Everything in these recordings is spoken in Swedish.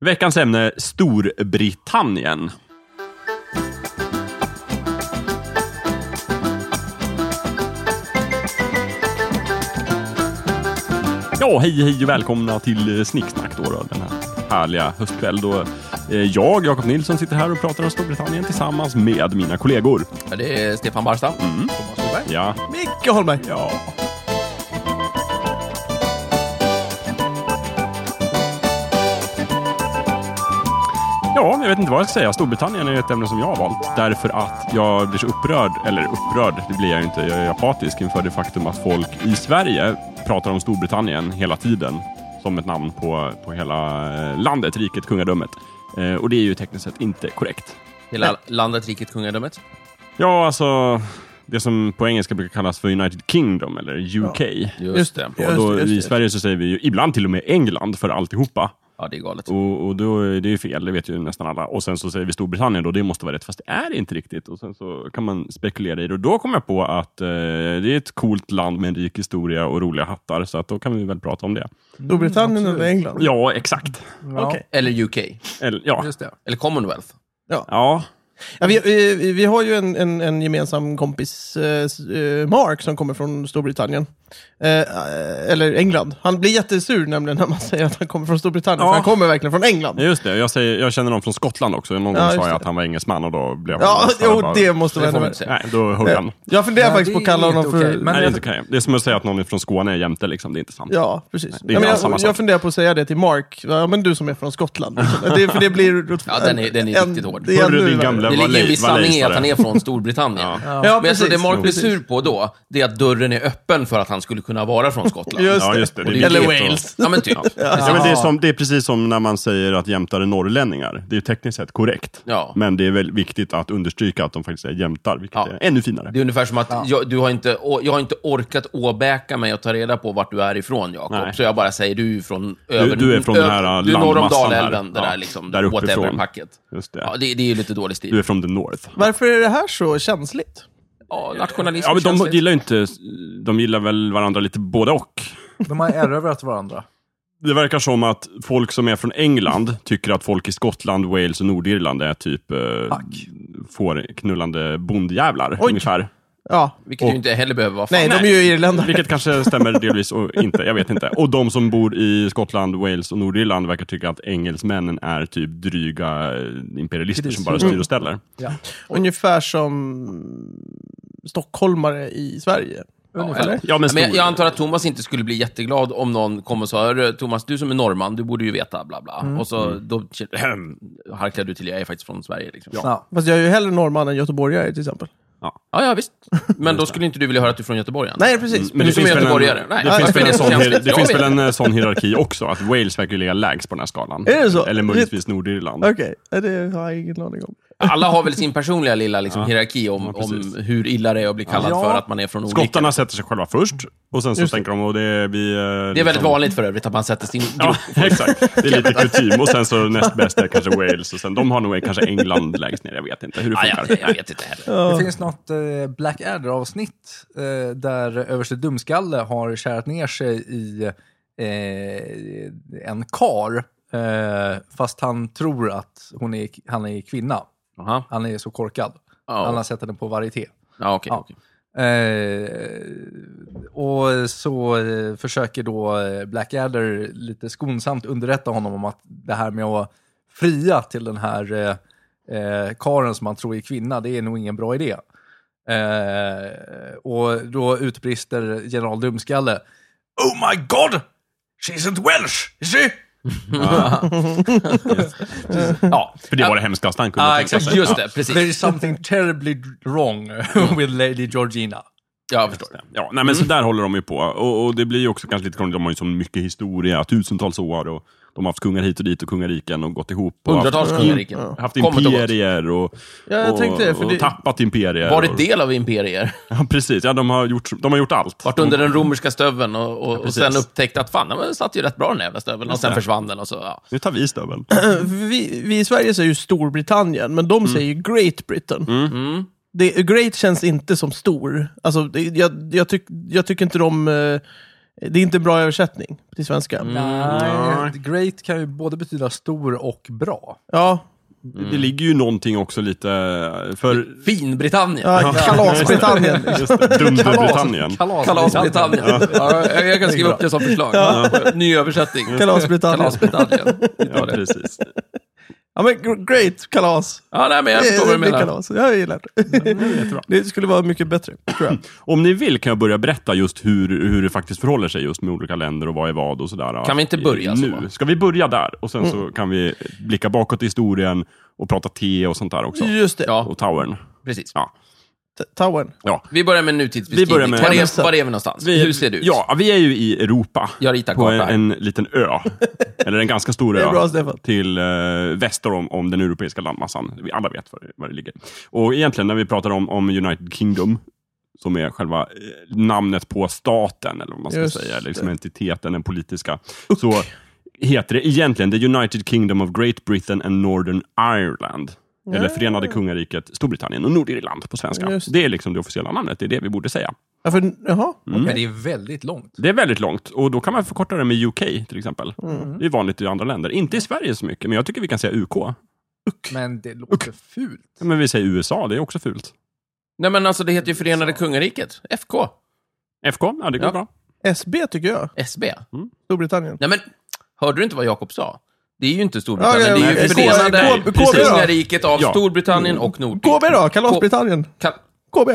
Veckans ämne, Storbritannien. Ja, hej hej och välkomna till eh, Snicksnack då, då den här härliga höstkväll då eh, jag, Jakob Nilsson, sitter här och pratar om Storbritannien tillsammans med mina kollegor. Ja, det är Stefan Barstam. Mm. Thomas Norberg. Ja, Micke Holmberg. ja. Ja, jag vet inte vad jag ska säga. Storbritannien är ett ämne som jag har valt därför att jag blir så upprörd, eller upprörd, det blir jag ju inte. Jag är apatisk inför det faktum att folk i Sverige pratar om Storbritannien hela tiden som ett namn på, på hela eh, landet, riket, kungadömet. Eh, och det är ju tekniskt sett inte korrekt. Hela landet, riket, kungadömet. Ja, alltså det som på engelska brukar kallas för United Kingdom eller UK. Just det. Och då, I Sverige så säger vi ju ibland till och med England för alltihopa. Ja, det är galet. Och, och då, är det är ju fel, det vet ju nästan alla. Och sen så säger vi Storbritannien då, det måste vara rätt, fast det är inte riktigt. Och sen så kan man spekulera i det. Och då kom jag på att eh, det är ett coolt land med en rik historia och roliga hattar, så att då kan vi väl prata om det. Storbritannien eller England? Ja, exakt. Ja. Okej. Eller UK. Eller, ja. Just det. Eller Commonwealth. ja. Ja, vi, vi, vi har ju en, en, en gemensam kompis, eh, s- eh, Mark, som kommer från Storbritannien. Eh, eh, eller England. Han blir jättesur nämligen när man säger att han kommer från Storbritannien, Ja. för han kommer verkligen från England. Ja, Just det, jag, säger, jag känner någon från Skottland också. Någon gång Ja, just sa jag det. att han var engelsman och då blev Ja, han... han jo, bara- det måste Det vara får man ännu inte säga. Nej, då högg han. värre. Jag funderar Ja, faktiskt på det att kalla är honom inte för... okej, men- Nej, det, är inte okej. det är som att säga att någon är från Skåne är jämte, liksom. det är inte sant. Ja, precis. inte Ja, men alls samma jag, sak. jag funderar på att säga det till Mark, ja, men du som är från Skottland. Det, för det blir... Ja, den är- den är riktigt hård. Det är Hörru, ännu din värre. gamla Det ligger en viss Valais- sanning i att han är från Storbritannien. Ja. Ja, Men jag tror det precis. Mark blir Precis. sur på då, det är att dörren är öppen för att han skulle kunna vara från Skottland. Just Ja, det. just det. Och det är det Eller det. Wales. Ja, men typ. Ja, men det, är som, det är precis som när man säger att jämtar är norrlänningar. Det är ju tekniskt sett korrekt. Ja. Men det är väl viktigt att understryka att de faktiskt är jämtar, vilket Ja. är ännu finare. Det är ungefär som att jag, du har inte, å- jag har inte orkat åbäka mig och ta reda på vart du är ifrån, Nej. Jakob. Så jag bara säger, du är från... Över, du är från ö- den här Du är norr om landmassan här. Dalälven, det Ja, där liksom, där uppifrån. whatever-packet. Just det. Ja, det, det är ju lite dålig stil. Du är från the North. Varför är det här så känsligt? Ja, nationalism Ja, men känns de lite- gillar ju inte... De gillar väl varandra lite både och. De har erövrat varandra. Det verkar som att folk som är från England tycker att folk i Skottland, Wales och Nordirland är typ eh, Hack. fårknullande bondjävlar, Oj. ungefär. Ja. Vilket ju inte heller behöver vara fan. Nej, de är ju irländare. Vilket kanske stämmer delvis och inte, jag vet inte. Och de som bor i Skottland, Wales och Nordirland verkar tycka att engelsmännen är typ dryga eh, imperialister som Mm. bara styr och ställer. Ja. Ungefär som stockholmare i Sverige. Ja, Ungefär. eller? Ja, men Ja, men jag, stor- jag antar att Thomas inte skulle bli jätteglad om någon kom och sa "Hörru, Thomas, du som är norrman, du borde ju veta bla bla. Och så då harklar du till, jag är faktiskt från Sverige. Liksom. Ja. Ja. Fast jag är ju hellre norrman än göteborgare till exempel. ja, visst. Men då skulle inte du vilja höra att du är från Göteborg? Anna. Nej, precis. Mm, Men Du det som finns är väl en- göteborgare. Nej, Det jag finns tycker väl en det sån känns hier- lite- det jag finns vet väl en eh, sån hierarki också, att Wales verkar ju ligga lägst på den här skalan. Är det så? Eller möjligtvis Nordirland. Okej, Nej, det har jag ingen aning om. Alla har väl sin personliga lilla liksom, hierarki om, Ja, precis. om hur illa det är att bli kallad Ja. för att man är från olika... Skottarna sätter sig själva först, och sen så Just det. tänker de, och det är vi... eh, Det är liksom- väldigt vanligt för övrigt att man sätter sin Ja, grupp. exakt. Det är lite kutym. Och sen så näst bäst är kanske Wales, och sen de har nog eh, kanske England längst ner, jag vet inte hur det Ja. Ah, Ja, funkar. jag, jag vet inte heller. Det finns något eh, Blackadder-avsnitt eh, där överste Dumskalle har kärat ner sig i eh, en kar. Eh, fast han tror att hon är, han är kvinna. Aha. Han är så korkad. Ja. Han har sett henne på varieté. Ja, okej. Ja. okej. Eh, och så eh, försöker då eh, Blackadder lite skonsamt underrätta honom om att det här med att fria till den här eh, eh, karen som man tror är kvinna, det är nog ingen bra idé. Eh, och då utbrister general Dumskalle. Oh my god! She isn't Welsh, is she? Ja. För det var det hemskaste han kunde Ja, tänka exakt. sig. Just det, precis. Mm. There is something terribly wrong with Lady Georgina. Ja, jag förstår. Ja, nej, men så där håller de ju på. Och, och det blir ju också kanske lite krångligt. De har ju så mycket historia, tusentals år. Och de har haft kungar hit och dit och kungariken och gått ihop. Och haft, eh, Hundratals kungariken. haft Kommit och gått. imperier och, Ja, jag och, tänkte det, för och det- tappat imperier. Varit och- del av imperier. Ja, precis. Ja, de, har gjort, de har gjort allt. Varit under den romerska stöveln och, och, och sen precis. upptäckt att fan, ja, men den satt ju rätt bra den jävla stöveln. Och sen försvann den och så, ja. Nu tar vi stöveln. Mm. Eh, Vi, vi i Sverige säger ju Storbritannien, men de Mm. säger ju Great Britain. Det, great känns inte som stor. Alltså, det, jag, jag, tyck, jag tycker inte de... eh, Det är inte en bra översättning till svenska. Nej, Eh, great kan ju både betyda stor och bra. Ja, Det ligger ju någonting också lite... eh, För... Fin-Britannien. ja kalasbritannien. Just det, Dunder-Britannien. Kalas, Kalas-Britannien. Ja, jag kan skriva upp det som förslag. Ny översättning. Kalasbritannien. Kalas-Britannien. Vi tar Ja, det. precis. Ja, men gr- great kalas. Ja, nej, men jag förstår vad det du blir menar. kalas. Jag gillar det. Det skulle vara mycket bättre, tror jag. Om ni vill kan jag börja berätta just hur, hur det faktiskt förhåller sig just med olika länder och vad är vad och sådär. Kan vi inte börja så? Mm. nu? Ska vi börja där? Och sen så kan vi blicka bakåt i historien och prata te och sånt där också. Just det. Ja, Och towern. precis. Ja. T- Towern. Ja. Vi börjar med Vi börjar nutidsbeskrivning. med- Var, Ja, men- är, var är vi någonstans? Hur ser det ut? Ja, vi är ju i Europa. Jag ritar på en, kartan. en liten ö. Eller en ganska stor Det är ö. bra, Stefan. till eh, väster om, om den europeiska landmassan. Vi alla vet var, det- var det ligger. Och egentligen när vi pratar om, om United Kingdom, som är själva eh, namnet på staten, eller vad man ska Just säga, det. liksom entiteten, den politiska, så heter det egentligen The United Kingdom of Great Britain and Northern Ireland. Eller Förenade Kungariket Storbritannien och Nordirland på svenska. Just Det är liksom det officiella namnet, det är det vi borde säga. Ja, för, jaha. Mm. Men det är väldigt långt. Det är väldigt långt och då kan man förkorta det med UK till exempel. Det är vanligt i andra länder. Inte i Sverige så mycket, men jag tycker vi kan säga UK. Men det låter fult. Ja, men vi säger USA, det är också fult. Nej, men alltså det heter ju Förenade Kungariket. FK. FK, ja det går Ja. bra. SB tycker jag. SB. Storbritannien. Nej, men hörde du inte vad Jakob sa? Det är ju inte Storbritannien, Ja, ja, det ja, är ju precis. Förenade K- K- K- Kungariket av Ja. Storbritannien och Nordbritannien. KB då? Kalasbritannien. Ka- KB.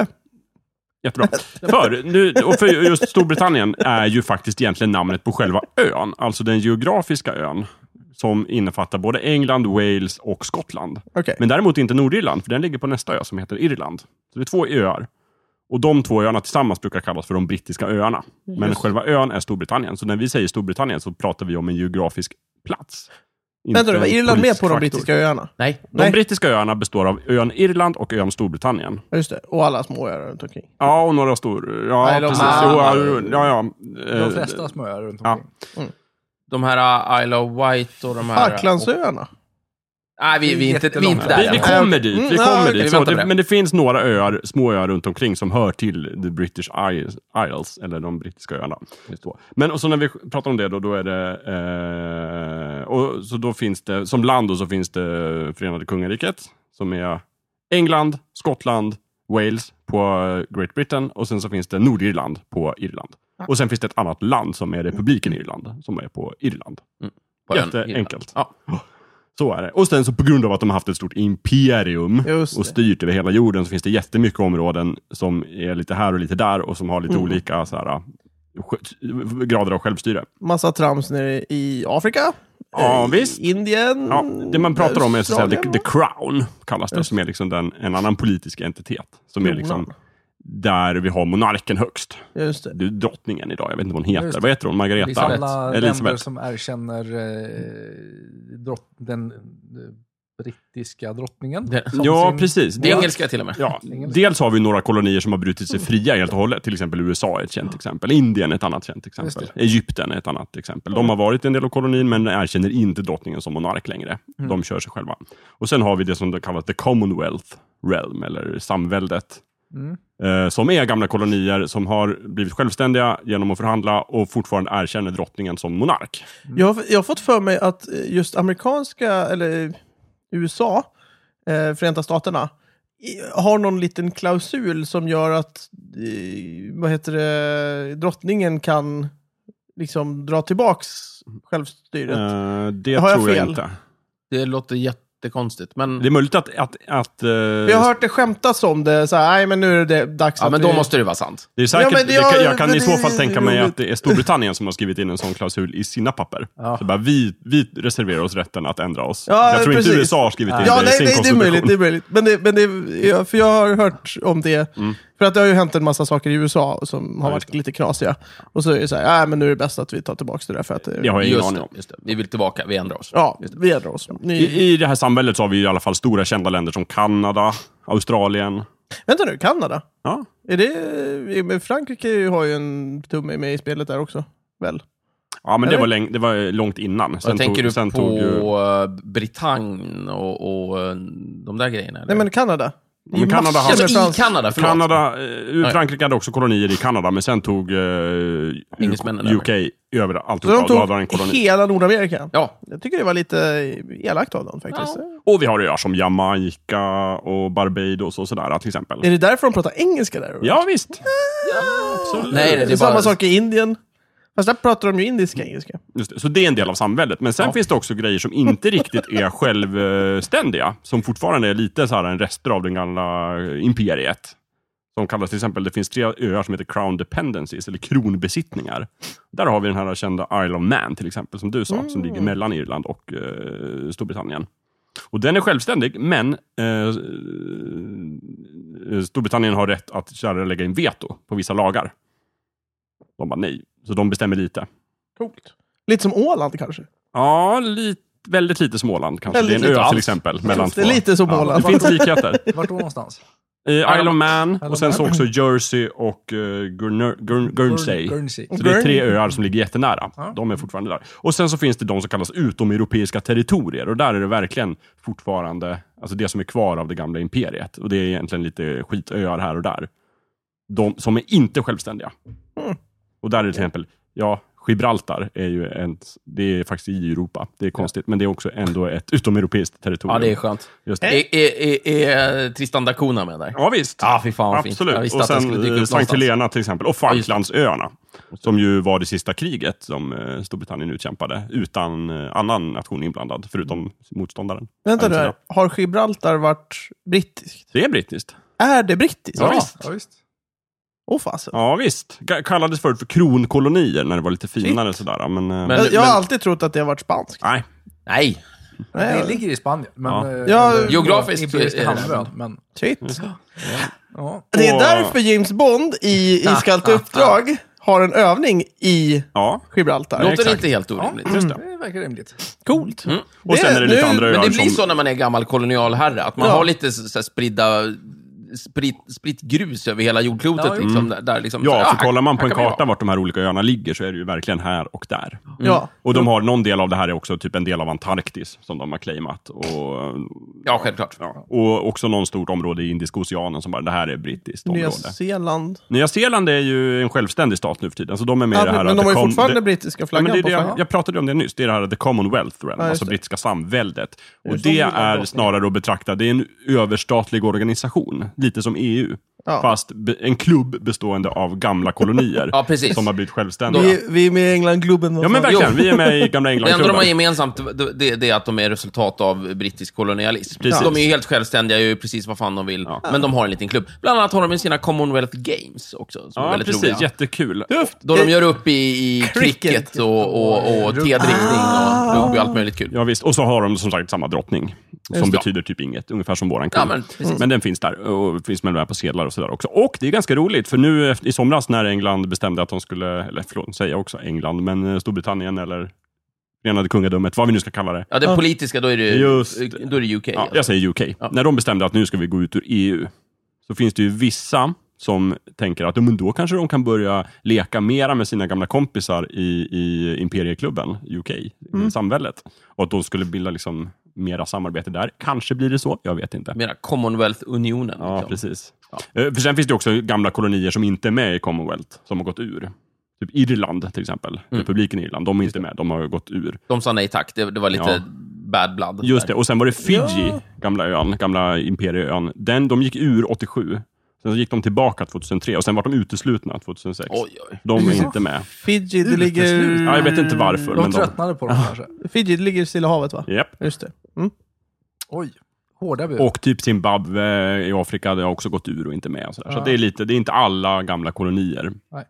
Jättebra. För, nu, och för just Storbritannien är ju faktiskt egentligen namnet på själva ön, alltså den geografiska ön, som innefattar både England, Wales och Skottland. Okej. Men däremot inte Nordirland, för den ligger på nästa ö som heter Irland. Så det är två öar. Och de två öarna tillsammans brukar kallas för de brittiska öarna. Mm. Men själva ön är Storbritannien. Så när vi säger Storbritannien så pratar vi om en geografisk plats. Inte Vänta nu, var en Irland politisk med på de faktor. brittiska öarna? Nej. De Nej. brittiska öarna består av ön Irland och ön Storbritannien. Ja, just det. Och alla små öar runt omkring. Ja, och några stora. Ja, Nej, de- precis. Ah. Jo, ja, jo, ja, ja. Eh, De flesta smöar runt ja. omkring. De här uh, Isle of Wight och de här... Falklandsöarna? Nej, vi, vi, är inte, vi är inte där. Vi, vi än. kommer Mm, dit. Vi ja, kommer okej. Vi dit. Så, väntar på det, det. men det finns några öar, små öar runt omkring som hör till the British Isles, Isles eller de brittiska öarna. Så. Men och så när vi pratar om det då, då är det... Eh, och så då finns det, som land då, så finns det Förenade Kungariket, som är England, Skottland, Wales på eh, Great Britain och sen så finns det Nordirland på Irland. Och sen finns det ett annat land som är republiken Irland, som är på Irland. På ön. Jätteenkelt. Ja. Så är det. Och sen så på grund av att de har haft ett stort imperium Just och det. styrt över hela jorden så finns det jättemycket områden som är lite här och lite där och som har Mm. lite olika så här, ah, sj- grader av självstyre. Massa trams nere i Afrika? Ja, Eh, visst. Indien? Ja, det man pratar om är så att säga, the, Mm, Australien, the crown, kallas det, som är liksom den, en annan politisk entitet. Som är Kronan. liksom där vi har monarken högst. va? Just det. Det är drottningen idag, jag vet inte vad hon Just heter. det. Vad heter hon? Margareta? Elisabeth. Alla länder Elisabeth. som erkänner eh, drott, den eh, brittiska drottningen. Det- som Ja, sin- precis. Det är engelska till och med. Ja, dels har vi några kolonier som har brutit sig fria helt och hållet. Till exempel USA är ett känt exempel. Indien är ett annat känt exempel. Just Egypten är ett annat exempel. De har varit en del av kolonin, men erkänner inte drottningen som monark längre. De kör sig själva. Och sen har vi det som det kallas the Commonwealth Realm, eller samväldet. Eh, som är gamla kolonier som har blivit självständiga genom att förhandla och fortfarande erkänner drottningen som monark. Mm. Jag, har, jag har fått för mig att eh, just amerikanska, eller USA, eh, Förenta Staterna, i- har någon liten klausul som gör att eh, vad heter det, drottningen kan liksom dra tillbaks Mm. självstyret. Eh, det Har jag tror jag fel? inte. Det låter jättekonstigt, men... Det är möjligt att, att, att eh, Vi har hört det skämtas om det, så här, nej men nu är det dags Ja, att men då vi... måste det vara sant. Det är säkert, Ja, men det- jag, kan- jag ja, kan men i så det- fall tänka mig roligt. att det är Storbritannien som har skrivit in en sån klausul i sina papper. Ja. Så bara, vi, vi reserverar oss rätten att ändra oss. Ja, jag tror precis. inte USA har skrivit in Ja, det i nej, sin nej, det är konstitution. möjligt. Det är möjligt. Men, det, men det, ja, för jag har hört om det. Mm. För att det har ju hänt en massa saker i USA som har varit lite knasiga. Och så är det så här, nej men nu är det bäst att vi tar tillbaka det där för att... det- Det har jag ingen Just aning det, om. just det. Vi vill tillbaka, vi ändrar oss. Ja, vi ändrar oss. Ni, I, I det här samhället så har vi i alla fall stora kända länder som Kanada, Australien. Vänta nu, Kanada? Ja, Är det... men Frankrike har ju en tumme med i spelet där också, väl? ja men det Eller? var, länge, det var långt innan. Vad tänker du sen på uh, tog ju- eh, Britannien och, och eh, uh, de där grejerna? Eller? Nej men Kanada. Ja, Men Kanada massor hade... med- Alltså i Frans- Kanada, förlåt. Kanada, eh, Nej. Frankrike hade också kolonier i Kanada, men sen tog eh, Engelsmännen UK över Så de alltihopa. Då hade de en tog koloni. hela Nordamerika. Ja. Jag tycker det var lite elakt av dem faktiskt. Och vi har öar som Jamaica och Barbados och sådär till exempel. Är det därför de pratar engelska där? Ja, visst. Nej, nej, det är det är bara... samma sak i Indien. Fast där pratar de ju indiska engelska. Just det. Så det är en del av samhället. Men sen Ja. finns det också grejer som inte riktigt är självständiga, som fortfarande är lite så här en rester av den gamla eh, imperiet. Som kallas till exempel, det finns tre öar som heter Crown Dependencies, eller kronbesittningar. Där har vi den här kända Isle of Man till exempel, som du sa, som ligger mellan Irland och eh, Storbritannien. Och den är självständig, men eh, Storbritannien har rätt att köra lägga in veto på vissa lagar. De bara nej, så de bestämmer lite. Coolt. Lite som Åland kanske. Ja, lite, väldigt lite Småland kanske. Väldigt det är en lite ö alls. till exempel. Mellan det två. är lite som Ja, Åland. Det finns likheter. Vart då någonstans? I Isle of Man of och sen så Man. också Jersey och eh, Guerner- Guern- Guernsey. Guernsey. Så det är tre Guernsey. öar som ligger jättenära. De är fortfarande där. Och sen så finns det de som kallas utomeuropeiska territorier och där är det verkligen fortfarande, alltså det som är kvar av det gamla imperiet. Och det är egentligen lite skitöar här och där. De som är inte självständiga. Och där är det till exempel, ja, Gibraltar är ju en, det är faktiskt i Europa. Det är konstigt, men det är också ändå ett utomeuropeiskt territorium. Ja, det är skönt. Just det. Är, är, är, är Tristan da Cunha med där? Eh? Ja, visst. Ja, fy fan vad fint. Absolut. Jag visste och att den skulle dyka sen upp eh, Sankt någonstans. Helena till exempel. Och just det. Falklandsöarna. Som ju var det sista kriget som eh, Storbritannien utkämpade. Utan eh, annan nation inblandad, förutom motståndaren. Vänta nu Angela. här. Har Gibraltar varit brittiskt? Det är brittiskt. Är det brittiskt? Ja. Ja, visst. Åh fasen. Ja, visst. Ka- Kallades förut för kronkolonier när det var lite finare sådär. Men, eh, Men- jag, jag har alltid trott att det har varit spanskt. nej. Nej, Nej, Det ligger i Spanien. Men, Ja. eh, Ja, under- geografiskt Iberiska är det halvön. Men, Shit. ja. Det är Och- därför James Bond i, i Ah, Skallt ah, uppdrag har en övning i Ja. Gibraltar. låter exakt. inte helt orimligt. Just det. Det verkar rimligt. Coolt. Mm. Och sen är det lite nu- andra Men öar det blir som... så när man är gammal kolonialherre, att man Ja. har lite så så här spridda, spritt, spritt grus över hela jordklotet. Ja, jo. liksom, där, där liksom, så, mm. Ja, för här- kollar man på här en kan vi karta vara. vart de här olika öarna ligger så är det ju verkligen här och där. Ja. Och Mm. de har, någon del av det här är också typ en del av Antarktis som de har claimat. Och Ja, självklart. Och också någon stort område i Indiska oceanen som bara, det här är brittiskt Nya område. Zeeland. Nya Zeeland är ju en självständig stat nu för tiden, så de är med Ja, i det här... men att de har det ju kom- fortfarande det- brittiska Ja, men flaggan det är det på jag, flaggan. jag pratade om det nyss, det är det här the Commonwealth Realm, Ja, just alltså det. brittiska samväldet. Och just det. det är snarare att betrakta, det är en överstatlig organisation, lite som EU. Ja. Fast be- en klubb bestående av gamla kolonier Ja, precis. som har blivit självständiga. Vi, vi är med i England-klubben. Ja men verkligen, vi är med i gamla Det enda de har England-klubben. gemensamt det- det, det är att de är resultat av brittisk kolonialism. Precis. De är ju helt självständiga, gör ju precis vad fan de vill, men de har en liten klubb. Bland annat har de ju sina Commonwealth Games också, som är Ja, väldigt precis. roliga. Jättekul. Då Eh, de gör upp i, i cricket, Cricket. och, och, och tedrickning och Ah. rugby och allt möjligt kul. Ja, visst. Och så har de som sagt samma drottning. Som det. betyder typ inget, ungefär som våran Ja, kung. men precis. men den finns där och finns med där på sedlar och sådär också. Och det är ganska roligt, för nu efter- i somras när England bestämde att de skulle, eller förlåt, säger jag också England, men eh, Storbritannien eller Förenade kungadömet, vad vi nu ska kalla det. Ja, det politiska, då är det, eh, Just det. då är det alltså. UK. Ja, jag säger UK. När de bestämde att nu ska vi gå ut ur EU, så finns det ju vissa som tänker att ja, men då kanske de kan börja leka mera med sina gamla kompisar i, i imperieklubben, UK, i samvället. Och att de skulle bilda liksom mera samarbete där. Kanske blir det så, jag vet inte. Mera Commonwealth-unionen. Ja, liksom. precis. Eh, För sen finns det ju också gamla kolonier som inte är med i Commonwealth, som har gått ur. Typ Irland till exempel, republiken Irland, de är inte med, de har gått ur. De sa nej tack, det, det var lite Ja. bad blood. Just det, och sen var det Fiji, gamla ön, gamla imperieön. Den, de gick ur 87, sen så gick de tillbaka 2003 och sen var de uteslutna 2006. Oj, oj. De är inte med. Fiji, det ligger... Ja, jag vet inte varför, De men de... tröttnade på dem kanske. Fiji, det ligger i Stilla havet va? Japp. Just det. Mm. Oj, hårda bud. Och typ Zimbabwe i Afrika, det har också gått ur och inte med. Och sådär. Så Ja. det, är lite, det är inte alla gamla kolonier. Nej.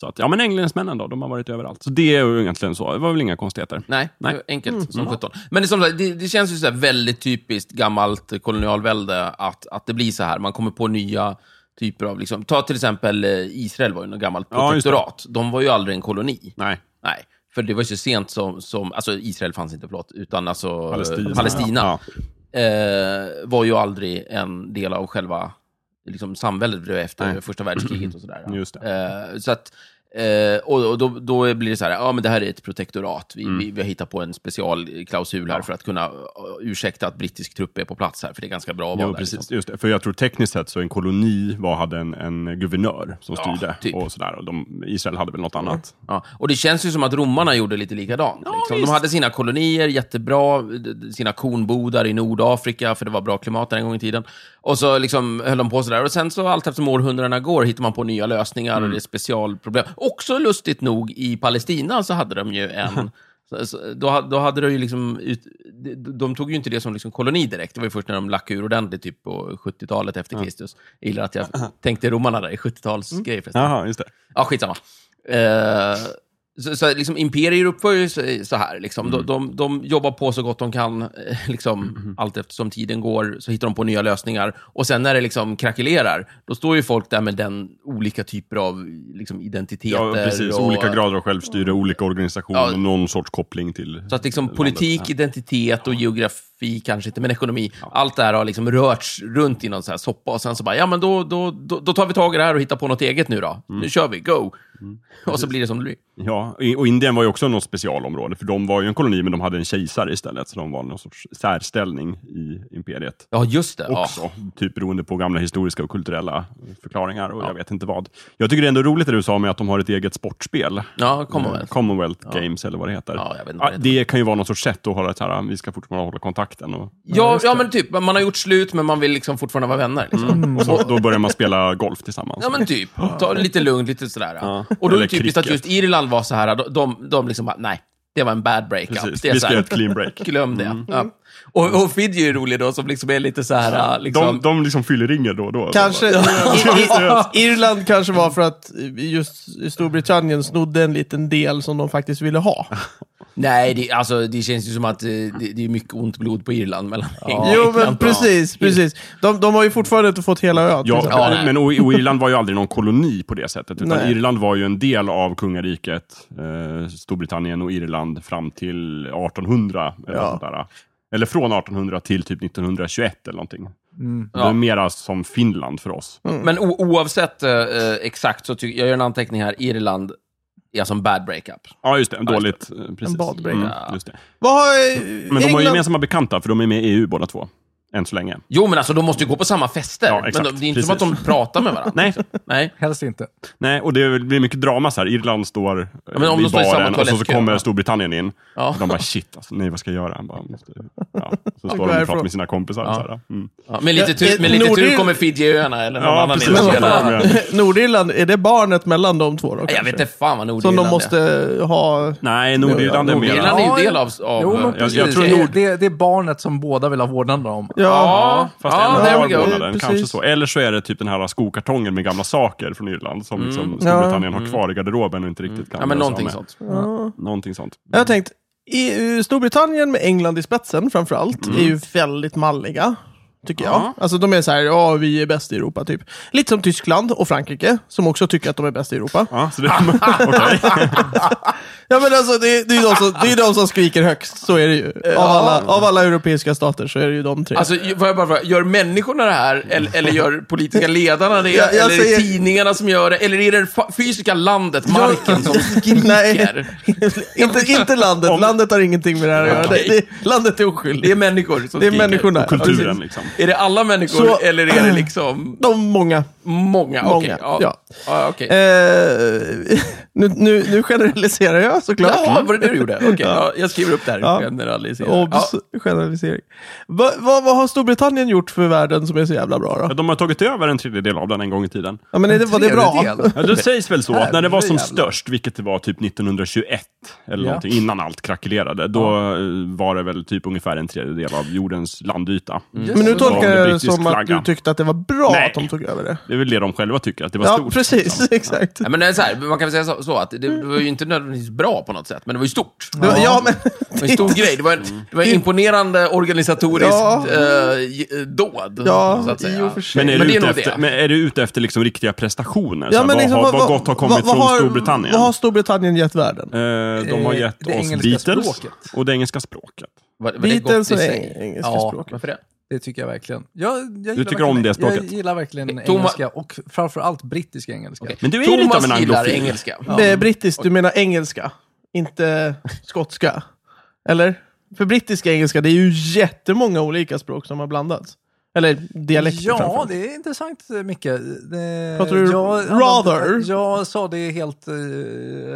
Så att, ja men engelsmännen då, de har varit överallt. Så det är ju egentligen så, det var väl inga konstigheter. Nej, Nej. Mm, det var enkelt som sjutton. Men det, är som sagt, det, det känns ju så här väldigt typiskt gammalt kolonialvälde att, att det blir så här. Man kommer på nya typer av... Liksom, ta till exempel eh, Israel var ju något gammalt Ja, just det. protektorat. De var ju aldrig en koloni. Nej. Nej, för det var ju så sent som, som alltså Israel fanns inte, förlåt, utan alltså Palestina. Palestina, Palestina Ja. eh, var ju aldrig en del av själva liksom, samhället blev efter första världskriget och sådär. Just Eh, så att Eh, och och då, då blir det så här, ja men det här är ett protektorat. Vi, Mm. vi, vi har hittat på en specialklausul här för att kunna eh, ursäkta att brittisk trupp är på plats här, för det är ganska bra att vara Jo, där, precis. liksom. Just det. För jag tror tekniskt sett så en koloni var, hade en, en guvernör som Ja, styrde. typ. Och sådär. Och de, Israel hade väl något annat. Ja, och det känns ju som att romarna gjorde lite likadant. Ja, liksom. visst. De hade sina kolonier, jättebra, d- d- sina kornbodar i Nordafrika, för det var bra klimat där en gång i tiden. Och så liksom höll de på sådär. Och sen så allt eftersom århundradena går hittar man på nya lösningar Mm. och det är specialproblem. Också lustigt nog, i Palestina så hade de ju Mm. en... så- så- Då, ha- då hade de ju liksom... Ut, de- de tog ju inte det som liksom koloni direkt. Det var ju först när de lackade ur ordentligt, typ på 70-talet efter Kristus. Jag gillar att jag Mm. tänkte romarna där i 70-talsgrejer förresten. Jaha, just det. Ja, skitsamma. Eh, så, så liksom, imperier uppför ju sig så här. Liksom. Mm. De, de, de jobbar på så gott de kan. eh, Liksom, Mm-hmm. Allt eftersom tiden går så hittar de på nya lösningar. Och sen när det liksom krackelerar, då står ju folk där med den olika typer av liksom, identiteter. Ja, precis. och- Olika grader av självstyre, olika organisation Ja. och någon sorts koppling till... Så att liksom landet. politik, Ja. identitet och geografi kanske inte, men ekonomi. Allt det här har liksom rörts runt i någon så här soppa och sen så bara, ja men då, då, då, då tar vi tag i det här och hittar på något eget nu då. Mm. Nu kör vi, go! Och så blir det som det blir. Ja, i- och Indien var ju också något specialområde, för de var ju en koloni, men de hade en kejsare istället, så de var någon sorts särställning i imperiet. Ja, just det. Ja. Också, typ beroende på gamla historiska och kulturella förklaringar och jag vet inte vad. Jag tycker det är ändå roligt det du sa med att de har ett eget sportspel. Ja, Commonwealth. Eh, Commonwealth Games eller vad det heter. Ja, jag vet inte vad det det, kan ju vara något sorts sätt att hålla ett så här, vi ska fortfarande hålla kontakten. Och, Ja, ja, men typ. Man har gjort slut, men man vill liksom fortfarande vara vänner. Liksom. och så, då börjar man spela golf tillsammans. Ja, men typ. Ta det lite lugnt, lite sådär. Ja. Och då är Eller det typiskt att cricket. just Irland var så här, de, de, de liksom bara, nej, det var en bad breakup. Precis, Det är vi så ska göra ett här, clean break. Mm. glöm det. Ja. Och, och Fidji är rolig då, som liksom är lite så här, liksom... De, de liksom fyller ringer då och då. Kanske, I- I- Irland kanske var för att just Storbritannien snodde en liten del som de faktiskt ville ha. Nej, det, alltså, det känns ju som att eh, det, det är mycket ont blod på Irland mellan England Jo, men och- precis. precis. De, de har ju fortfarande inte fått hela ön. Liksom. till Ja, exempel. nej. men och, och Irland var ju aldrig någon koloni på det sättet, utan Nej. Irland var ju en del av kungariket, eh, Storbritannien och Irland fram till 1800. Eller, Ja. något sånt där. eller från 1800 till typ 1921 eller någonting. Det Mm. Ja. är mera som Finland för oss. Men o- oavsett eh, eh, exakt, så tycker jag gör en anteckning här, Irland är alltså en bad breakup. Ja, just det. Dåligt. eh, Precis. En badbrygga. just det. Vad har eh, Men de har ju England- gemensamma bekanta, för de är med i EU båda två. Än så länge. Jo, men alltså de måste ju gå på samma fester. Ja, men exakt. de, det är inte som att Precis. de pratar med varandra. Nej, Nej. Helst inte. nej, och det blir mycket drama så här. Irland står eh, men om de vid står i samma baren och så, så toalettkö, kommer va? Storbritannien in. Ja. Och de bara shit, alltså, nej vad ska jag göra? Han bara, måste, ja. Så Gå står de och härifrån. pratar med sina kompisar. Så här, mm. Ja, med lite Ja, tur, eh, med lite tur Nordirland- kommer Fidjiöarna eller någon Ja, annan precis. in och Ja, spelar. men- Nordirland, är det barnet mellan de två då? Nej, Jag kanske? vet inte fan vad Som Nordirland de måste ha... Nej, Nordirland är är. Nordirland mera. är Ja, ju del ja. av... av Jo, men ja, jag precis. tror det, Nord- det, det är barnet som båda vill ha vårdnaden om. Ja, ja, Fast ja, en there we har go. vårdnaden, Precis. kanske så. Eller så är det typ den här skokartongen med gamla saker från Irland Mm. som liksom Ja. Storbritannien har kvar i garderoben och inte riktigt kan ja, men göra sig av någonting med. sånt. Ja. Någonting sånt. Jag har tänkt, EU, Storbritannien med England i spetsen framförallt, Mm. är ju väldigt malliga. Tycker jag. Alltså de är så här, ja vi är bäst i Europa typ. Lite som Tyskland och Frankrike, som också tycker att de är bäst i Europa. Ja, så det, okej. Ja men alltså det, det är ju de, som- det är de som skriker högst, så är det ju. Av alla, av alla europeiska stater så är det ju de tre. Alltså, ju- får jag bara fråga, gör människorna det här, eller, eller gör politiska ledarna det? Jag- jag eller är det säger- tidningarna som gör det? Eller är det det fa- fysiska landet, marken, som Nej, skriker? inte, inte landet. Om- Landet har ingenting med det här att göra. Okej. Det, det, landet är oskyldigt. Det är människor som Det är skriker. människorna. Ja, Kulturen precis. liksom. Är det alla människor, Så- eller är det liksom De många. många? Okej, Många, ja. ja. ja okej. Eh, nu, nu, nu generaliserar jag såklart. Jaha, var det det du gjorde? Okej, ja. jag skriver upp det här. Ja. Generalisera. Obs, Ja. generalisering. Va, va, vad har Storbritannien gjort för världen som är så jävla bra då? Ja, De har tagit över en tredjedel av den en gång i tiden. Ja, men är det, var det bra? Tredjedel. Ja, det sägs väl så, att när det var som Herrejävlar. störst, vilket det var typ 1921, eller Ja. någonting, innan allt krackelerade, då eh, var det väl typ ungefär en tredjedel av jordens landyta. Mm. Mm. Men nu Som var tolkar under jag det brittisk som att flagga. du tyckte att det var bra Nej. att de tog över det. Det är väl det de själva tycker, att det var Ja, stort. liksom. precis. Exakt. Ja, men det är så här, man kan väl säga så, så att det, det var ju inte nödvändigtvis bra på något sätt, men det var ju stort. Det var- Ja, men... Det var en stor grej. Det var en, det var en imponerande organisatorisk Ja. eh, j- dåd, Ja, så att i och säga. för sig. Men är, Men du det är ute nog efter, det. men är du ute efter liksom riktiga prestationer? Ja, så här, men vad, liksom, har, vad- vad gott har kommit vad från har- Storbritannien? Vad har Storbritannien gett världen? Eh, de har Eh, gett det oss engelska Beatles språket. och det engelska språket. Var, var det gott Beatles i och sig? engelska Ja. språket. Varför det? Det tycker jag verkligen. Jag, jag gillar tycker verkligen, om det språket? Jag gillar verkligen Thomas- engelska och framförallt brittisk engelska. Eh, Okej. Men du är ju Thomas lite av en gillar anglofil. engelska. Eh, Brittiskt, du menar engelska, inte skotska? Eller? För brittisk engelska, det är ju jättemånga olika språk som har blandats. Eller dialekter Ja, framförallt. det är intressant eh, Micke. Det, Pratar du rather? Jag sa det helt... eh,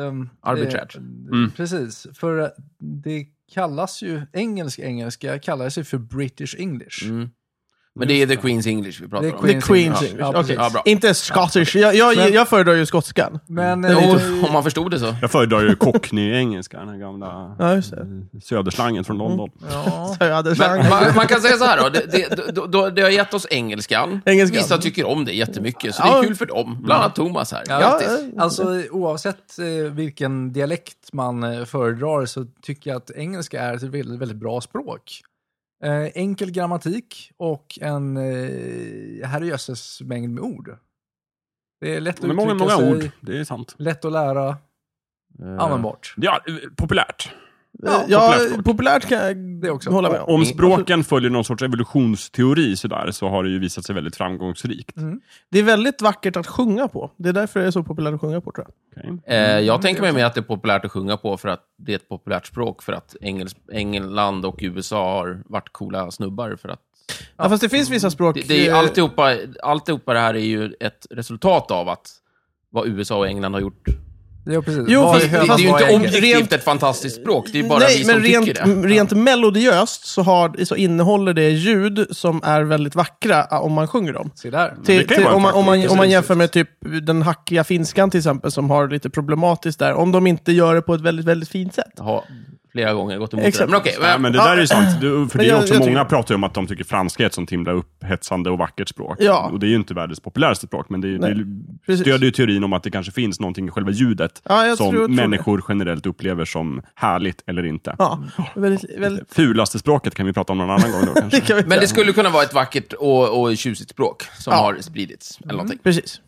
ehm, Arbiträrt. Mm. eh, Precis, för eh, det kallas ju, engelsk engelska kallas ju för British English. Mm. Men det är the Queen's English vi pratar The om. The Queen's Queen's English. English. Ja, Okej. ja, bra. Inte Scottish. Jag, jag, Men- jag föredrar ju skotskan. Men Det är eh, Jo, om man förstod det så. Jag föredrar ju Cockney-engelska, den här gamla Ja, Mm. just det. söderslangen från London. ja. Så jag hade Men chans. man, man kan säga så här då, det, det, då, då, det har gett oss engelskan. Engelskan. Vissa tycker om det jättemycket, så det är Ja. kul för dem. Bland annat Thomas här. Ja, Grattis! eh, Alltså oavsett eh, vilken dialekt man eh, föredrar så tycker jag att engelska är ett väldigt, väldigt bra språk. Eh, enkel grammatik och en eh, herrejösses mängd med ord. Det är lätt att Men många, uttrycka många sig, ord. Det är sant. lätt att lära, Eh, användbart. Ja, eh, populärt. Ja, populärt språk. populärt kan jag Det också. hålla med om. Mm. Om språken följer någon sorts evolutionsteori sådär, så har det ju visat sig väldigt framgångsrikt. Det är väldigt vackert att sjunga på. Det är därför det är så populärt att sjunga på, tror jag. Okej. Eh, jag tänker mig med att det är populärt att sjunga på för att det är ett populärt språk för att Engels, England och USA har varit coola snubbar för att... Ja, fast det finns vissa språk... Mm. Det, det är eh, alltihopa, alltihopa det här är ju ett resultat av att vad USA och England har gjort. Jo, precis. Jo, Vad fast- är Det, det hönan, är ju vad inte är ägget? objektivt Rent- ett fantastiskt språk, det är ju bara Nej, vi som men rent, tycker det. rent melodiöst så, har, så innehåller det ljud som är väldigt vackra ah, om man sjunger dem. Se där. Det Till, kan ju till, vara en om, man, om, man, faktor, om man precis. jämför med typ den hackiga finskan till exempel, som har lite problematiskt där. Om de inte gör det på ett väldigt, väldigt fint sätt. Jag har flera gånger gått emot Exakt. det. Men okej, Ja, men- men det Ja. där är ju sant. Du, för Men det är jag- också jag många tycker- pratar ju om att de tycker franska är ett sånt himla upphetsande och vackert språk. Ja. Och det är ju inte världens populäraste språk, men det, är- Nej, det precis. stödjer ju teorin om att det kanske finns någonting i själva ljudet Ja, jag som tror- tror det. människor generellt upplever som härligt eller inte. Ja, Mm. väldigt, väldigt, Fulaste språket kan vi prata om någon annan gång då kanske. det kan vi Men säga. det skulle kunna vara ett vackert och, och tjusigt språk som Ja. har spridits. Mm. Eller någonting. Precis.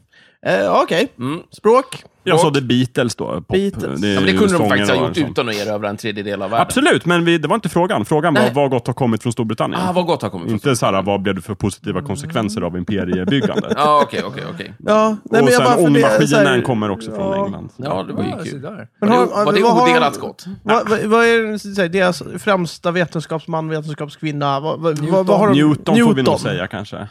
Eh, Okej, Mm. språk. Jag sa The Beatles då. Pop. Beatles. är Ja, men ju det kunde sånger de faktiskt och ha gjort sånt. utan att erövra en tredjedel av världen. Absolut, men vi, det var inte frågan. Frågan var Nej. vad gott har kommit från Storbritannien. Ah, vad gott har kommit från. inte så här, vad blev det för positiva konsekvenser av imperiebyggandet? Ja, okej, okej, okej. Ja, nej, och men jag bara sen funderar så här- ångmaskinen kommer också från Ja. England. Ja, det var ju Ja, se kul. där. Var Men har- det, var det vad har- odelat gott? Vad, vad, vad är så att säga, deras främsta vetenskapsman, vetenskapskvinna? Vad, vad, Newton. vad, vad har de? Newton, får vi nog säga kanske. Var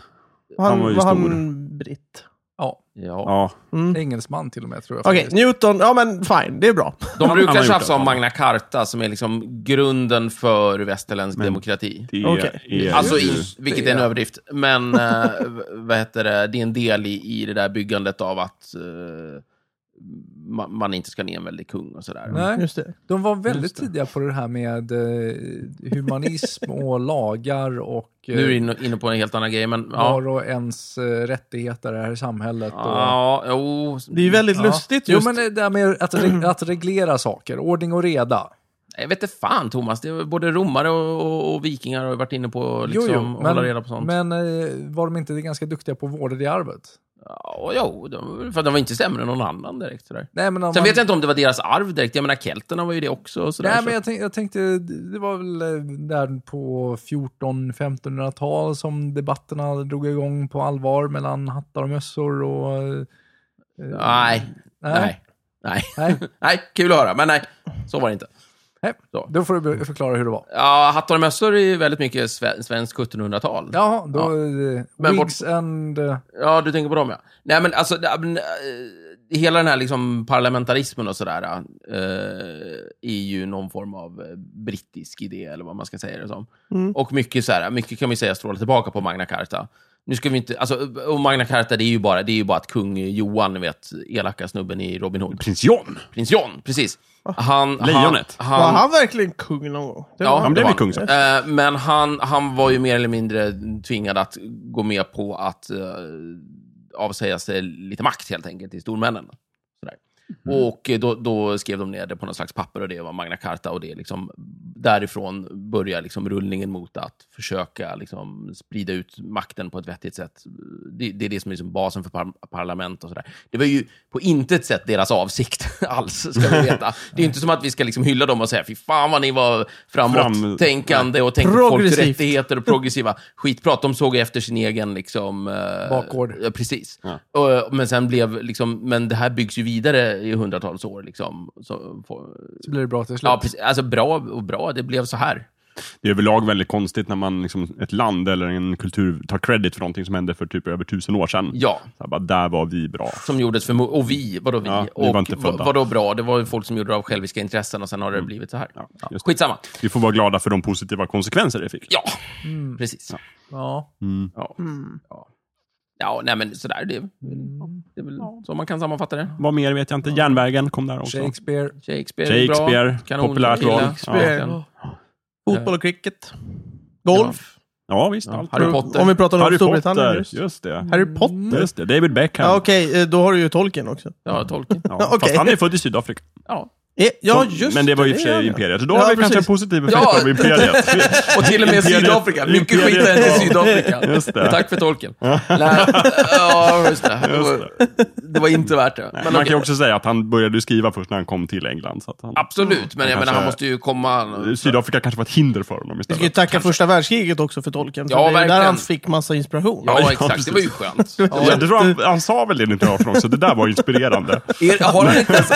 han, Han var ju var stor. han britt? Ja, Ja. Ja. engelsman till och med tror jag. Okej, faktiskt. Newton. Ja, men fine. Det är bra. De han har brukar gjort tjafsa det, om ja. Magna Carta, som är liksom grunden för västerländsk demokrati. Det Okej. är Alltså, ju... i, vilket är en överdrift. Men, eh, v- vad heter det, det är en del i, i det där byggandet av att eh, ma- man inte ska nemenväldig kung och sådär. Nej. Just det. De var väldigt tidiga på det här med eh, humanism och lagar och eh, Nu är du inne- inne på en helt annan grej, men ja. var och ens eh, rättigheter i det här samhället. Och, Ja, jo. Det är ju väldigt lustigt Jo, just. men eh, det där med att, re- att reglera saker, ordning och reda. Jag vet inte fan Thomas, det är både romare och, och, och vikingar har ju varit inne på liksom, att hålla reda på sånt. men eh, var de inte ganska duktiga på att vårda det arvet? Ja, jo, de, för de var inte sämre än någon annan direkt. Sådär. Nej, men om Sen man- vet jag inte om det var deras arv direkt, jag menar kelterna var ju det också. Och sådär, Nej, så. men jag, tänk, jag tänkte, det var väl eh, där på 14-1500-tal som debatterna drog igång på allvar mellan hattar och mössor och... eh, nej, nej, nej, nej. nej, kul att höra, men nej, så var det inte. Nej. Så. Då får du be- förklara hur det var. Ja, hattar och mössor är ju väldigt mycket sve- svenskt 1700-tal. Jaha, då... Ja. Ja. Men bort- Wigs and... eh, Ja, du tänker på dem ja. Nej, men alltså, det- men, eh, hela den här liksom parlamentarismen och sådär eh, är ju någon form av eh, brittisk idé, eller vad man ska säga det som. Och mycket, så här, mycket kan man ju säga strålar tillbaka på Magna Carta. Nu ska vi inte, alltså, och Magna Carta, det är ju bara, det är ju bara att kung Johan, ni vet, elaka snubben i Robin Hood. Prins John! Prins John, precis. Han, Lejonet. Han, Var han, han verkligen kung någon gång? Det Ja, var han. Han blev det ju var kung sen. Eh, men han, han var ju mer eller mindre tvingad att gå med på att eh, avsäga sig lite makt helt enkelt till stormännen. Sådär. Och eh, då, då skrev de ner det på något slags papper och det var Magna Carta. Och det liksom, därifrån börjar liksom rullningen mot att försöka liksom sprida ut makten på ett vettigt sätt. Det, det är det som är liksom basen för par parlament och sådär. Det var ju på intet sätt deras avsikt alls, ska vi veta. Det är ju inte som att vi ska liksom hylla dem och säga fy fan vad ni var framåttänkande och tänkte på folks Progressivt. rättigheter och progressiva. Skitprat, de såg efter sin egen liksom... eh, Bakgård. Ja, precis. Och, men sen blev liksom, men det här byggs ju vidare i hundratals år liksom. Så, få- Så blir det bra till slut. ja, precis. Alltså bra och bra, det blev så här. Det är överlag väldigt konstigt när man liksom, ett land eller en kultur tar credit för någonting som hände för typ över tusen år sedan. Ja. Så här, bara, där var vi bra. Som gjordes för... mo- Och vi, vadå vi? Ja, vi och var inte födda. Mm. vad- vadå bra? Det var ju folk som gjorde det av själviska intressen och sen har det blivit så här. Ja, Ja. just det. Skitsamma. Vi får vara glada för de positiva konsekvenser det fick. Ja, precis. Ja. Ja. Ja. ja. nej men sådär. Det, är- det är väl så man kan sammanfatta det. Vad mer vet jag inte. Järnvägen kom där också. Shakespeare. Shakespeare, är Shakespeare, bra. Kanon, populärt kille. val. Shakespeare. Ja. Fotboll och cricket. Golf. Ja, visst. allt. Harry Potter. Om vi pratar om Harry Storbritannien Potter. just. Just. det. Harry Potter? Just det. David Beckham. Ja, Okej, eh, då har du ju tolken också. Ja, tolken. Ja, Okej. Fast han är född i Sydafrika. Ja. Eh, Ja, Så- just men det var ju i och för är sig han. imperiet. Så då Ja, har vi precis. kanske en positiv effekt Ja. av imperiet. Och till och med Imperiet- Sydafrika. Mycket Imperiet- skit hände i Ja. Sydafrika. Just det. Tack för tolken. Nej, ja, just det. Det var, det var inte värt det. Men Man kan okej. ju också säga att han började ju skriva först när han kom till England. Så att han, Absolut, men jag Kanske- menar, han måste ju komma... Sydafrika kanske var ett hinder för honom Vi ska ju istället. tacka första världskriget också för tolken. Ja, för det är där verkligen. han fick massa inspiration. Ja, ja, exakt. Det var ju skönt. Ja, jag tror han, han sa väl det 1918 också, det där var inspirerande. Er, har han inte, ens-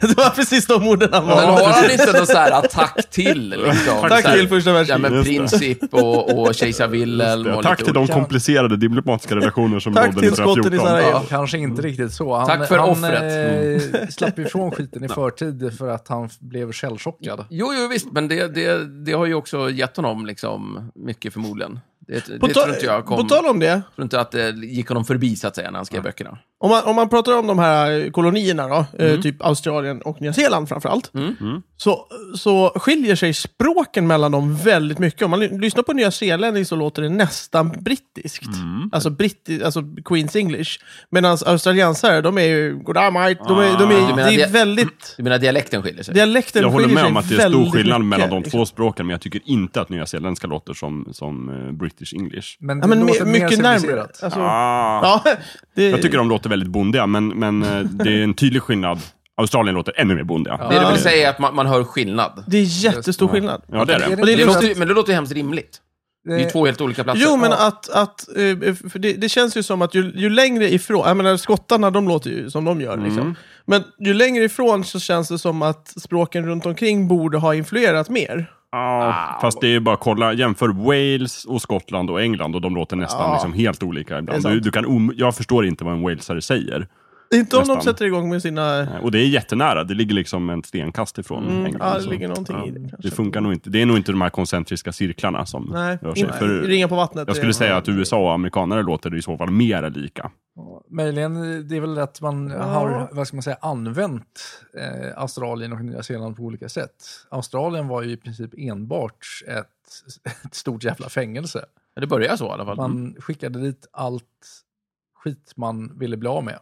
det var precis de orden han men var. har han inte någon så här attack till? Liksom, Tack Så här, till första världskriget. Ja, men Just det. Princip och, och kejsar Wilhelm. och lite Tack till de olika. komplicerade diplomatiska relationer som Tack rådde till skotten i 1914. Sarajevo. Ja, kanske inte riktigt så. Han, Tack för han, offret. Mm. eh, slapp ifrån skiten i förtid för att han f- blev källchockad. Jo, jo, visst, men det, det, det har ju också gett honom liksom, mycket förmodligen. Det, det På, ta- tror inte jag kom... på tal om det, tror inte att det gick honom förbi, så att säga, när han skrev böckerna. om man, om man pratar om de här eh, kolonierna då, eh, Mm. typ Australien och Nya Zeeland framförallt, Mm. så, så skiljer sig språken mellan dem väldigt mycket. Om man ly- lyssnar på Nya Zeeland så låter det nästan brittiskt. Mm. Alltså, britti- alltså Queens English. Medan australiensare, de är ju... Goddag mate. De är, de Ah. Du är, menar det är det- väldigt... Du menar dialekten skiljer sig? Dialekten Jag håller skiljer med sig om att det är stor väldigt skillnad mycket, mellan de liksom. två språken, men jag tycker inte att nyzeeländska låter som, som eh, British English. Men det Ja, men låter my- mycket mer närmare. civiliserat. Alltså, Ah. ja, det, Jag tycker de låter väldigt bondiga, men, men eh, det är en tydlig skillnad. Australien låter ännu mer bondiga. Det du vill säga är att man, man hör skillnad. det är jättestor skillnad. Ja, alltså, det är Är det. det- Men är det, liksom- låter, ju- men det låter ju hemskt rimligt. Det är ju Eh, två helt olika platser. Jo, men att... att eh, för det, det känns ju som att ju, ju längre ifrån... Jag menar, skottarna de låter ju som de gör. Mm. Liksom. Men ju längre ifrån så känns det som att språken runt omkring borde ha influerat mer. Ja, Ah. fast det är ju bara att kolla. Jämför Wales och Skottland och England och de låter nästan Ja. liksom helt olika ibland. Det är sant. Du, du kan om, jag förstår inte vad en walesare säger. Inte om de Nästan. sätter igång med sina... Eh, Och det är jättenära. Det ligger liksom en stenkast ifrån Mm, England. ja, det så. ligger någonting alltså, Ja. i det kanske. Det funkar nog inte. Det är nog inte de här koncentriska cirklarna som Nej, rör sig. inte, För ringa på vattnet. jag det- skulle säga att USA och amerikanare låter i så fall mera lika. Möjligen, eh, det är väl att man har, vad ska man säga, använt eh, Australien och Nya Zeeland på olika sätt. Australien var ju i princip enbart ett, ett stort jävla fängelse. Det börjar så i alla fall. Mm. Man skickade dit allt skit man ville bli av med.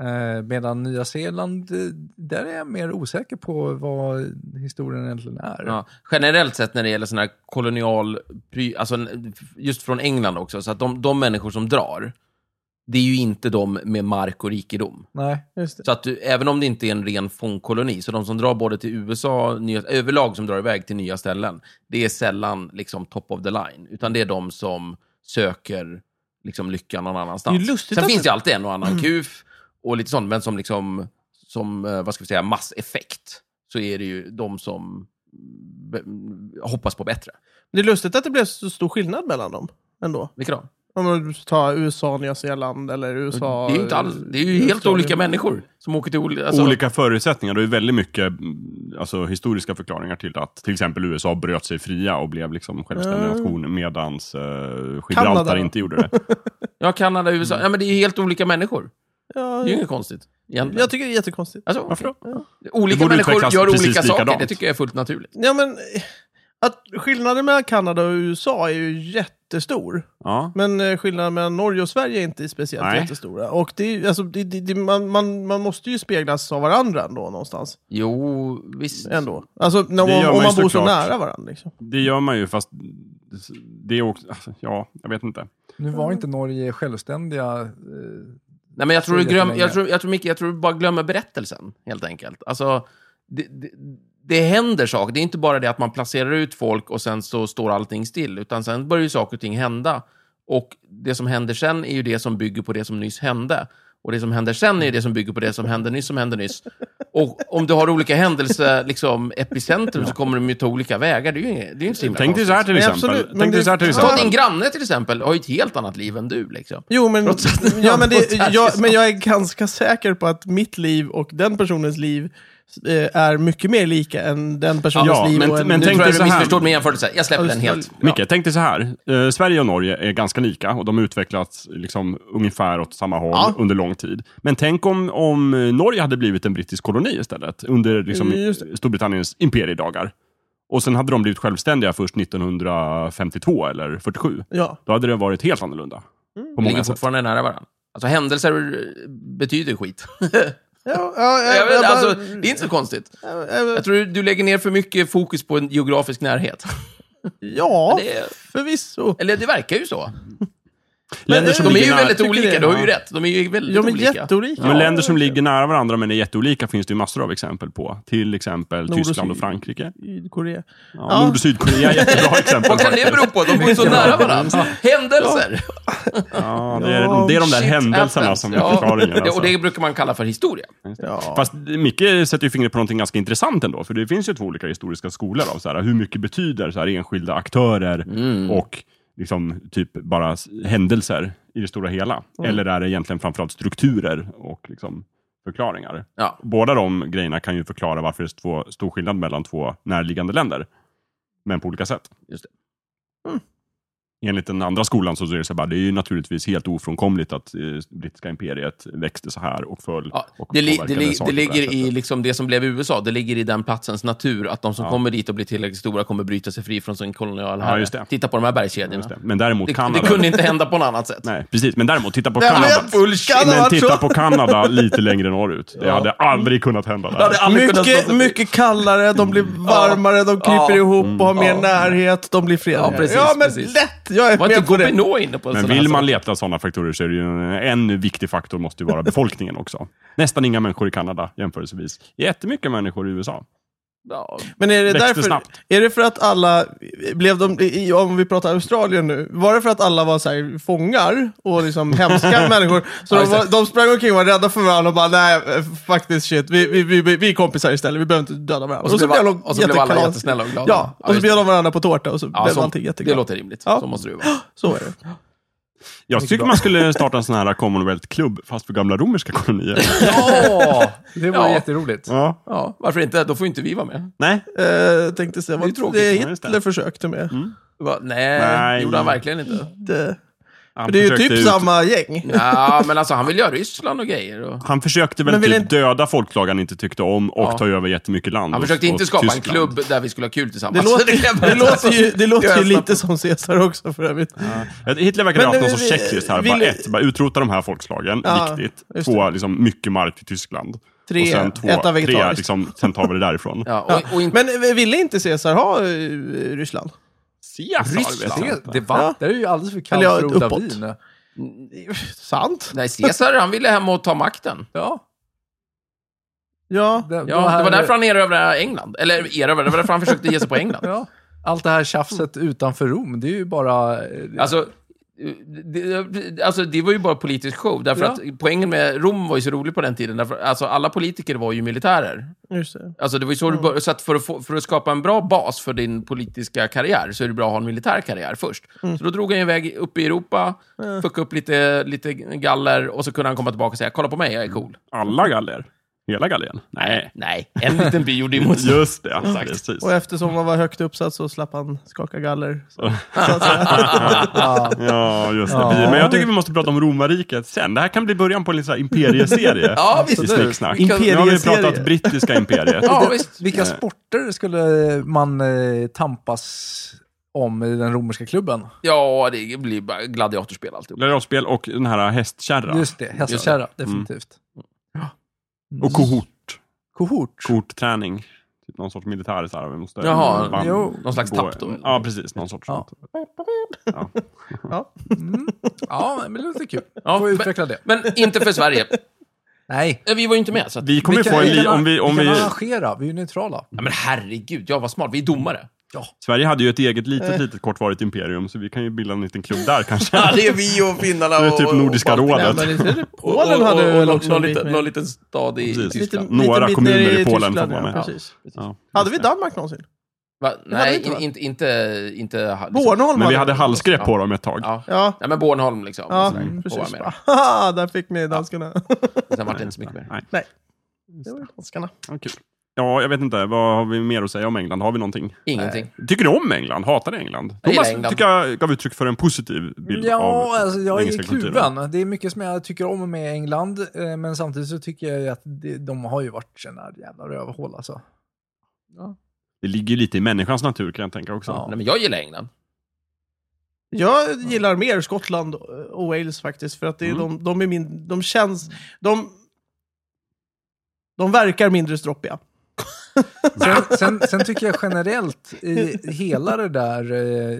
Eh, medan Nya Zeeland, eh, där är jag mer osäker på vad historien egentligen är. Ja. Generellt sett när det gäller såna här kolonial... pry- Alltså, n- just från England också, så att de, de människor som drar, det är ju inte de med mark och rikedom. Nej. Just det. Så att du, även om det inte är en ren fångkoloni, så de som drar både till USA, nya, överlag som drar iväg till nya ställen, det är sällan liksom top of the line, utan det är de som söker liksom lyckan någon annanstans. Det är lustigt Sen att- finns det alltid en och annan kuf och lite sånt, men som liksom, som, eh, vad ska vi säga, masseffekt, så är det ju de som be- hoppas på bättre. Det är lustigt att det blev så stor skillnad mellan dem ändå. Vilka då? Om man tar USA, Nya Zeeland eller USA... det är ju inte alls, det är ju helt Australien. olika människor som åker till olika... Alltså, Olika förutsättningar. Det är väldigt mycket mm, alltså, historiska förklaringar till att till exempel USA bröt sig fria och blev liksom självständig Mm. nation medans eh, Kanada Gibraltar då? inte gjorde det. Ja, Kanada, USA. Ja, men det är ju helt olika människor. Det är ju Ja, inget konstigt. Egentligen. jag tycker det är jättekonstigt. Alltså, Varför okej. Det Olika borde människor utvecklas gör precis olika saker, likadant. det tycker jag är fullt naturligt. Ja, men eh, att skillnaden mellan Kanada och USA är ju jättestor. Ja. Men eh, skillnaden mellan Norge och Sverige är inte speciellt Nej. jättestora. Och det är, ju- alltså, det, det, det, man, man, man måste ju speglas av varandra ändå någonstans. Jo, visst. Ändå. Alltså när, Det gör om, om man ju man bor så såklart. nära varandra. Liksom. Det gör man ju, fast det är också... alltså, Ja, jag vet inte. Nu var inte Norge självständiga. eh, Nej, men jag tror, du Så glöm, jättelänge. jag, tror, jag, tror, Micke, jag tror du bara glömmer berättelsen, helt enkelt. Alltså, det, det, det händer saker. Det är inte bara det att man placerar ut folk och sen så står allting still, utan sen börjar ju saker och ting hända. Och det som händer sen är ju det som bygger på det som nyss hände. Och det som händer sen är ju det som bygger på det som hände nyss, som hände nyss. Och om du har olika händelser, liksom epicentrum, så kommer de ju ta olika vägar. Det är ju, inget- det är ju inte så himla Tänk dig så här till Nej, exempel. absolut, men Tänk dig det- så här till Ja. Ta exempel. din granne till exempel, har ju ett helt annat liv än du. Liksom. Jo, men, Trots att- ja, men, det, trots att- jag, men jag är ganska säker på att mitt liv och den personens liv eh, är mycket mer lika än den personens Ja, liv men- och en, men Nu tänk tror dig jag så du här. missförstod min jämförelse. Jag släpper den helt. Micke, tänk dig så här. Eh, Sverige och Norge är ganska lika och de har utvecklats liksom, ungefär åt samma håll Ja. under lång tid. Men tänk om, om eh, Norge hade blivit en brittisk koloni istället under liksom, Mm, Just Storbritanniens imperiedagar. Och sen hade de blivit självständiga först 1952 eller 47. Ja. Då hade det varit helt annorlunda. På Mm. De ligger många sätt. fortfarande nära varandra. Alltså händelser eh, betyder skit. Ja, ja, jag jag, jag vet, bara- alltså, det är inte så konstigt. jag- jag- Jag tror du, du lägger ner för mycket fokus på en geografisk närhet. Ja, Det är- förvisso. Eller det verkar ju så. Länder De är ju ligger nära- väldigt tycker olika, det, du har ja. ju rätt. De är ju väldigt De är olika. jätteolika. Men länder som ligger nära varandra men är jätteolika finns det ju massor av exempel på. Till exempel och Tyskland och Syd. Frankrike. I Korea. Ja, Ja. Nord och Sydkorea är jättebra exempel. Vad kan det faktiskt. bero på? De är ju så nära varandra. Händelser! Ja, det, är, det är de där Shit händelserna happens. som är Ja, förklaringen. det- Alltså. Och det brukar man kalla för historia. Ja. Fast Micke sätter ju fingret på någonting ganska intressant ändå, för det finns ju två olika historiska skolor av så här, hur mycket betyder så här, enskilda aktörer och liksom, typ bara s- händelser i det stora hela? Eller är det egentligen framförallt strukturer och liksom, förklaringar? Ja. Båda de grejerna kan ju förklara varför det är två, stor skillnad mellan två närliggande länder, men på olika sätt. Just det. Mm. Enligt den andra skolan så är det så här, bara, det är ju naturligtvis helt ofrånkomligt att eh, brittiska imperiet växte så här och föll. Ja, och det, li, det, påverkade li, saker på det här ligger sättet. i liksom det som blev USA, det ligger i den platsens natur att de som kommer dit och blir tillräckligt stora kommer bryta sig fri från sin kolonial Ja, herre. just det. Titta på de här bergskedjorna. Just det. Men däremot Det, Kanada. det kunde inte hända på något annat sätt. Nej, precis. Men däremot, titta på Nej, men Kanada. jag- bullshit. Kanada, Men titta så- på Kanada lite längre norrut. Det hade aldrig kunnat hända Det hade där. aldrig kunnat Mm. stå Mycket, sig- mycket kallare, de blir varmare, de kryper Ja. ihop och har mer Ja. närhet, de blir fredligare. Ja, precis, men precis. lätt! Jag är Var med inte på det. Gobinot inne på en Men sån här vill man sak? leta sådana faktorer så är det ju en viktig faktor måste ju vara befolkningen också. Nästan inga människor i Kanada jämförelsevis. Jättemycket människor i USA. Ja, Men är det Växte därför, snabbt. är det för att alla, blev de, i- om vi pratar Australien nu, var det för att alla var så här fångar och liksom hemska människor? Så Ja, de, just det. var, de sprang omkring och var rädda för varandra och bara nej, eh, faktiskt shit, vi, vi, vi, vi är kompisar istället, vi behöver inte döda varandra. Och så blev- och så blev alla jättekalas. jättesnälla och glada. Ja, Ja, och så just bjöd det. de varandra på tårta och så ja, blev så, allting det jätteglada. låter rimligt. Ja. Så måste det ju vara. Så är det. Jag tycker man skulle starta en sån här Commonwealth-klubb, fast för gamla romerska kolonier. Ja, det var Ja. jätteroligt. Ja. Ja, varför inte? Då får ju inte vi vara med. Nej, Eh, tänkte Mm. Det är ju säga Mm. vad det, tråkigt, ja, just det. Hitler försökte med. Va? Nej, Nej. gjorde han verkligen inte. Det, han för det är ju försökte typ ut- samma gäng. Ja, men alltså han vill göra Ryssland och grejer. Och... Han försökte väl Men vill typ inte- döda folklag han inte tyckte om och ta över jättemycket land. Han åt- försökte inte åt skapa en Tyskland. klubb där vi skulle ha kul Det, tillsammans. låter, Alltså, kan jag det, berätta. låter ju, det Jag låter ju är lite som Caesar också för övrigt. Hitler verkar ha Men haft någon vi- sorts checklist här. vi- bara vi- ett, bara utrota de här folkslagen, Ja, viktigt. just det. Två, liksom, mycket mark till Tyskland. Tre, och sen två, äta tre, vegetariskt. liksom, sen tar vi det därifrån. Ja, och, och inte... Men eh, ville inte Caesar ha eh, Ryssland? Caesar, vet jag Det, inte. det Ja. var, det är ju alldeles för kallt Eller ja, för att odla uppåt. vin. Sant. Nej, Caesar, han ville hem och ta makten. Ja, Ja. det, Ja, det var därför han erövrade England. Eller erövrade, det var därför han försökte ge sig på England. Ja. Allt det här tjafset utanför Rom, det är ju bara... eh, Alltså, det, alltså, det var ju bara politisk show. Därför Ja. att poängen med Rom var ju så rolig på den tiden. Därför, alltså, alla politiker var ju militärer. Just det. Alltså, det var ju så, du bör, så att för att, få, för att skapa en bra bas för din politiska karriär så är det bra att ha en militär karriär först. Så då drog han ju iväg upp i Europa, fuckade upp lite, lite galler och så kunde han komma tillbaka och säga “Kolla på mig, jag är cool”. Alla galler? Hela gallien? Nej. Nej, en liten by gjorde ju motstånd. Just det, Exakt. precis. Och eftersom man var högt uppsatt så slapp han skaka galler. Så. ja. Ja, just det. Ja. Vi- Men jag tycker vi måste prata om romarriket sen. Det här kan bli början på en liten så här imperieserie. Ja, visst. I absolut. snicksnack. Vi kan- Nu har vi pratat Imperieserie. brittiska imperiet. Ja, visst. Vilka sporter skulle man eh, tampas om den romerska klubben. Ja, det blir bara gladiatorspel alltihop. Gladiatorspel och den här hästkärran. Just det, Mm. hästkärra, definitivt. Och kohort. Kohort. Kohortträning. Typ någon sorts militär. Så här, vi måste Jaha, man- jo. Mm. Någon slags gå- tapp då? Ja, precis. Någon sorts. Ja. Ja. Mm. Ja, men det låter kul. Ja, Får men- utveckla det. Men inte för Sverige. Nej. Eh, Vi var ju inte med. Så att... Vi kommer ju få en... Li- om vi, om vi vi, kan arrangera, vi är ju neutrala. ja, men herregud, jag var smart. Vi är domare. Sverige hade ju ett eget litet, litet kortvarigt imperium, så vi kan ju bilda en liten klubb där kanske. Ja, det är vi och finnarna Det är och... typ Nordiska och Baltikum. rådet. Ja, men det är det. Och- Polen och- hade och- väl och också en någon, bit liten, med. någon liten stad i Precis. Tyskland. Liten- Några liten bit kommuner ner i Polen får Tyskland, vara med. Ja, precis. Ja. Hade vi Danmark någonsin? Va? hade vi Nej, inte, va? inte, inte, inte... ha- liksom- Bornholm Men vi hade hade halsgrepp på dem ett tag. Ja. Ja, Nej, men Bornholm liksom. och ja sådär, får vara precis. med då. Haha, där fick ni danskarna. Sen vart det inte så mycket mer. Nej. Det var ju danskarna. Ja, kul. Ja, jag vet inte. Vad har vi mer att säga om England? Har vi någonting? Ingenting. Tycker du om England? Hatar du England? Jag gillar Thomas England. tycker jag gav uttryck för en positiv bild Ja, av alltså jag är engelska kulturen. kluven. Det är mycket som jag tycker om med England, eh, men samtidigt så tycker jag ju att det, de har ju varit såna jävla rövhål alltså. Det ligger ju lite i människans natur kan jag tänka också. Ja. Nej, men jag gillar England. Jag gillar mer Skottland och Wales faktiskt, för att det är, Mm. de, de är min, de känns... De, de verkar mindre stroppiga. Sen, sen, sen tycker jag generellt i hela det där, eh,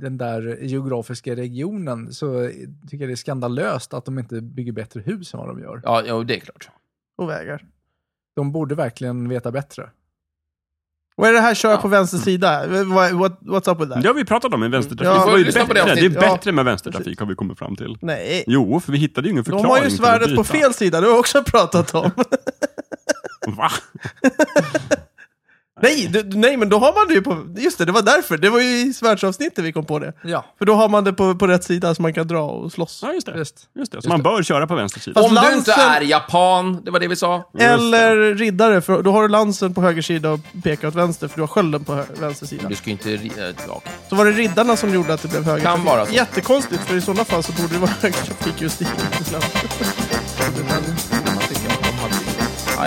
den där geografiska regionen så tycker jag det är skandalöst att de inte bygger bättre hus än vad de gör. Ja, jo, det är klart. Och vägar. De borde verkligen veta bättre. Vad är det här kör jag på vänster sida? What, what, what's up with that? Det har vi pratat om i vänstertrafik. Ja. det, var Vi ju får lyssna på bättre. det Det, är avsnittet. Ja. bättre med vänstertrafik har vi kommit fram till. Nej. Jo, för vi hittade ju ingen De förklaring. har ju till att svärdet på byta. fel sida, det har vi också pratat om. Va? nej, du, du- nej, men då har man det ju på... Just det, det var därför. Det var ju i svärdsavsnittet vi kom på det. Ja, För då har man det på, på rätt sida så man kan dra och slåss. Ja, just det. just. Just det. Så man bör köra på vänster sida. Fast Om du lansen- inte är japan, det var det vi sa. det. Eller riddare, för då har du lansen på höger sida och pekar åt vänster, för du har skölden på hö- vänster sida. Du ska ju inte... ri- eh, Ja, okej. Så var det riddarna som gjorde att det blev höger Kan trafik. vara så. Jättekonstigt, för i sådana fall så borde det vara höger trafik just i Tyskland. ja,